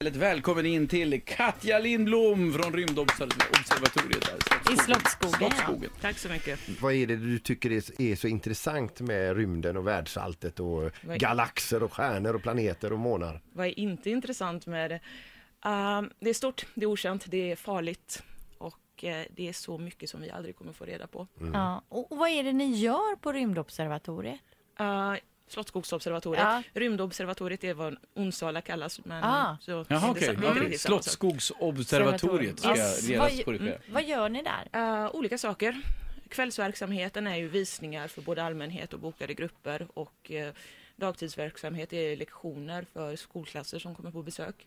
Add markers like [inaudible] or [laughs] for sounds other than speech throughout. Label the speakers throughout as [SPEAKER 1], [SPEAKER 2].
[SPEAKER 1] Väldigt välkommen in till Katja Lindblom från Rymdobservatoriet. Här.
[SPEAKER 2] I Slottsskogen.
[SPEAKER 1] Slottsskogen.
[SPEAKER 2] Ja, Tack så mycket.
[SPEAKER 3] Vad är det du tycker är, är så intressant med rymden och världsalltet och
[SPEAKER 2] Vad-
[SPEAKER 3] galaxer och stjärnor och planeter och månar?
[SPEAKER 2] Vad är inte intressant med det? Ehm, det är stort, det är okänt, det är farligt och eh, det är så mycket som vi aldrig kommer få reda på.
[SPEAKER 3] Mm.
[SPEAKER 1] Mm.
[SPEAKER 4] Ja, och och vad är det ni gör på rymdobservatoriet?
[SPEAKER 2] Uh, Slottsskogsobservatoriet.
[SPEAKER 4] Ja.
[SPEAKER 2] Rymdobservatoriet är vad Onsala kallas. Men
[SPEAKER 4] Ah.
[SPEAKER 2] så
[SPEAKER 1] Jaha,
[SPEAKER 2] det är
[SPEAKER 1] okej.
[SPEAKER 2] inte riktigt samma sak.
[SPEAKER 1] Slottsskogsobservatoriet ska jag
[SPEAKER 4] Mm. Yes.
[SPEAKER 1] genast
[SPEAKER 4] Vad, mm,
[SPEAKER 1] korrigera.
[SPEAKER 4] vad gör ni där?
[SPEAKER 2] Eh, olika saker. Kvällsverksamheten är ju visningar för både allmänhet och bokade grupper och eh, dagtidsverksamhet är lektioner för skolklasser som kommer på
[SPEAKER 3] Mm.
[SPEAKER 2] besök.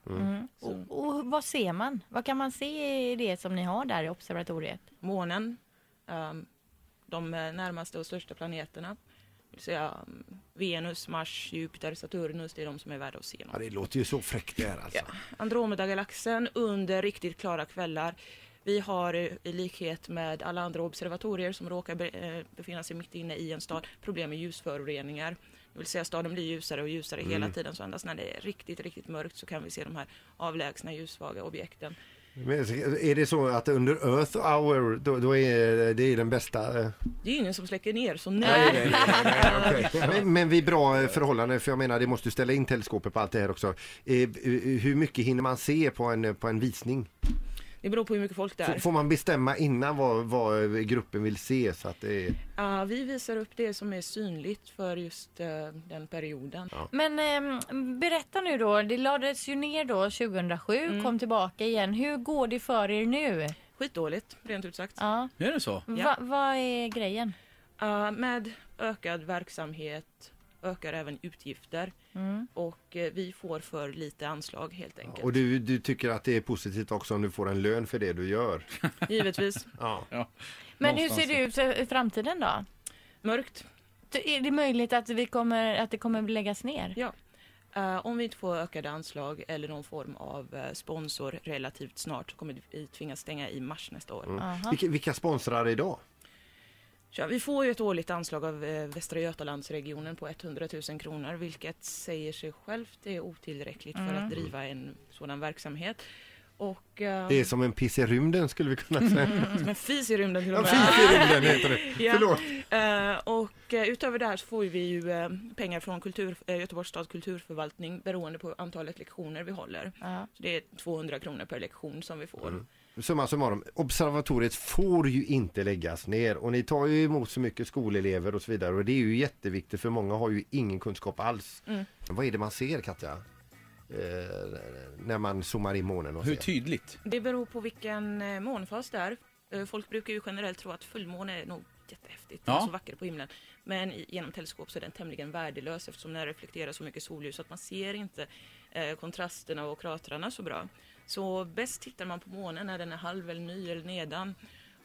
[SPEAKER 4] Och, och vad ser man? Vad kan man se i det som ni har där i observatoriet?
[SPEAKER 2] månen, ehm, de närmaste och största planeterna. Det vill säga ehm, Venus, Mars, Jupiter, Saturnus, det är de som är värda att se.
[SPEAKER 3] Ja, det låter ju så fräckt det här alltså.
[SPEAKER 2] Andromedagalaxen under riktigt klara kvällar. Vi har eh, i likhet med alla andra observatorier som råkar be, eh, befinna sig mitt inne i en stad problem med ljusföroreningar. Det vill säga staden blir ljusare och ljusare hela tiden så endast när det är riktigt, riktigt mörkt så kan vi se de här avlägsna ljussvaga objekten.
[SPEAKER 3] Men är det så att under Earth hour, då, då är det är den bästa? eh,
[SPEAKER 2] Det är ju ingen som släcker ner så nej.
[SPEAKER 3] Men, men vid bra eh, förhållanden, för jag menar det måste ju ställa in teleskopet på allt det här också. Eh, eh, Hur mycket hinner man se på en, eh, på en visning?
[SPEAKER 2] Det beror på hur mycket folk det
[SPEAKER 3] Får-
[SPEAKER 2] är.
[SPEAKER 3] Får man bestämma innan vad, vad eh, gruppen vill se? Så att det är...
[SPEAKER 2] Ja, vi visar upp det som är synligt för just eh, den perioden.
[SPEAKER 4] Men ehm, berätta nu då, det lades ju ner då 2007, kom tillbaka igen. Hur går det för er nu?
[SPEAKER 2] Skitdåligt, rent ut sagt.
[SPEAKER 4] Ja.
[SPEAKER 1] Är det så?
[SPEAKER 4] Va, vad är grejen?
[SPEAKER 2] Eh, med ökad verksamhet ökar även utgifter och eh, vi får för lite anslag helt enkelt.
[SPEAKER 3] Och du, du tycker att det är positivt också om du får en lön för det du gör?
[SPEAKER 2] Givetvis
[SPEAKER 3] Ja.
[SPEAKER 1] Ja.
[SPEAKER 4] Men
[SPEAKER 1] Någonstans.
[SPEAKER 4] hur ser det ut för- i framtiden då?
[SPEAKER 2] mörkt.
[SPEAKER 4] Är det möjligt att, vi kommer, att det kommer läggas ner?
[SPEAKER 2] Ja. Eh, om vi inte får ökade anslag eller någon form av eh, sponsor relativt snart så kommer vi tvingas stänga i mars nästa år.
[SPEAKER 3] Vilka, vilka sponsrar idag?
[SPEAKER 2] Ja, vi får ju ett årligt anslag av eh, Västra Götalandsregionen på 100 000 kronor vilket säger sig självt är otillräckligt för
[SPEAKER 3] Mm.
[SPEAKER 2] att driva en sådan verksamhet. Och eh,
[SPEAKER 3] Det är som en piss i rymden skulle vi kunna [laughs] säga.
[SPEAKER 2] som en fis i rymden till och
[SPEAKER 3] En
[SPEAKER 2] med.
[SPEAKER 3] fis i rymden heter det.
[SPEAKER 2] Ja.
[SPEAKER 3] Förlåt.
[SPEAKER 2] Eh, och eh, utöver det här så får vi ju eh, pengar från kultur, eh, Göteborgs stads kulturförvaltning beroende på antalet lektioner vi håller.
[SPEAKER 4] Ja.
[SPEAKER 2] Så det är 200 kronor per lektion som vi får.
[SPEAKER 3] Summa summarum, observatoriet får ju inte läggas ner och ni tar ju emot så mycket skolelever och så vidare och det är ju jätteviktigt för många har ju ingen kunskap alls. Men vad är det man ser Katja? Eh, när man zoomar in månen och
[SPEAKER 1] Hur
[SPEAKER 3] ser.
[SPEAKER 1] tydligt?
[SPEAKER 2] Det beror på vilken eh, månfas det är. Eh, Folk brukar ju generellt tro att fullmåne är nog jättehäftigt, det
[SPEAKER 1] Ja.
[SPEAKER 2] är så vackert på himlen. Men i- genom teleskop så är den tämligen värdelös eftersom den reflekterar så mycket solljus att man ser inte eh, kontrasterna och kratrarna så bra. Så bäst tittar man på månen när den är halv eller ny eller nedan.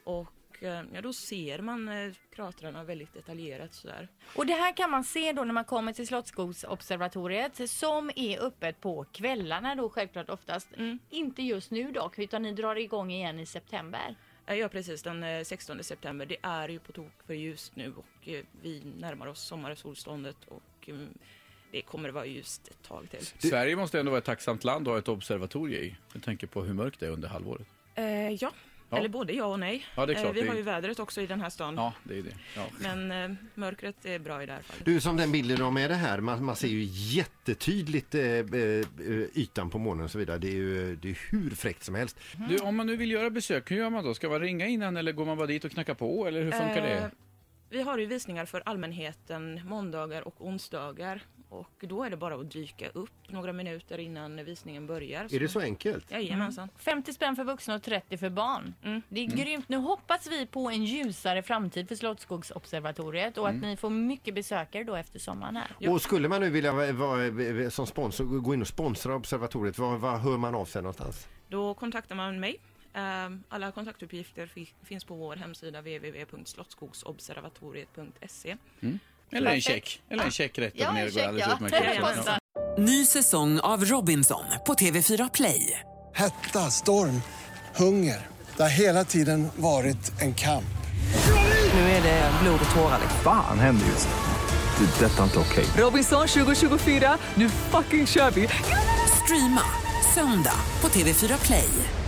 [SPEAKER 2] Och eh, ja, då ser man eh, kratrarna väldigt detaljerat sådär.
[SPEAKER 4] Och det här kan man se då när man kommer till Slottsskogsobservatoriet som är öppet på kvällarna då självklart oftast. Inte just nu dock utan ni drar igång igen i september.
[SPEAKER 2] Eh, Ja precis, den eh, 16 september. Det är ju på tok för ljust nu och eh, vi närmar oss sommarsolståndet och mm, det kommer att vara ljust ett tag till.
[SPEAKER 1] Sverige måste ändå vara ett tacksamt land att ha ett observatorie i. Jag tänker på hur mörkt det är under halvåret.
[SPEAKER 2] Eh, ja.
[SPEAKER 1] Ja.
[SPEAKER 2] eller både ja och nej.
[SPEAKER 1] Ja, det är
[SPEAKER 2] Eh,
[SPEAKER 1] klart,
[SPEAKER 2] vi
[SPEAKER 1] det är-
[SPEAKER 2] har ju vädret också i den här stan.
[SPEAKER 1] Ja, det är det. Ja.
[SPEAKER 2] Men eh, mörkret är bra i det här fallet.
[SPEAKER 3] Du som den bilden du har med det här, man, man ser ju jättetydligt eh, eh, ytan på månen och så vidare. Det är ju det är hur fräckt som helst.
[SPEAKER 1] Du, om man nu vill göra besök, hur gör man då? Ska man ringa innan eller går man bara dit och knackar på? Eller hur funkar
[SPEAKER 2] Eh,
[SPEAKER 1] det?
[SPEAKER 2] Vi har ju visningar för allmänheten måndagar och onsdagar. Och då är det bara att dyka upp några minuter innan visningen börjar.
[SPEAKER 3] Är det så enkelt?
[SPEAKER 2] Jajamensan.
[SPEAKER 4] 50 spänn för vuxna och 30 för barn. Det är grymt. Nu hoppas vi på en ljusare framtid för Slottsskogsobservatoriet och att ni får mycket besökare då efter sommaren här.
[SPEAKER 3] Och skulle man nu vilja va- va- som sponsor, gå in och sponsra observatoriet, vad vad hör man av sig någonstans?
[SPEAKER 2] Då kontaktar man mig. Eh, alla kontaktuppgifter fi- finns på vår hemsida www.slottskogsobservatoriet.se.
[SPEAKER 1] Eller en
[SPEAKER 4] Perfekt.
[SPEAKER 1] check. Eller en check rätt upp
[SPEAKER 4] Ja,
[SPEAKER 1] ner
[SPEAKER 4] en
[SPEAKER 1] går
[SPEAKER 4] check
[SPEAKER 1] alldeles
[SPEAKER 4] ja. [laughs]
[SPEAKER 1] utmärkt.
[SPEAKER 4] Det kostar.
[SPEAKER 5] Ny säsong av Robinson på TV4 Play.
[SPEAKER 6] Hetta, storm, hunger. Det har hela tiden varit en kamp.
[SPEAKER 5] Nu är det blod och tårar. liksom.
[SPEAKER 7] Fan händer just nu. Det. är Detta är inte okej.
[SPEAKER 5] Robinson 2024, nu fucking kör vi! Streama söndag på TV4 Play.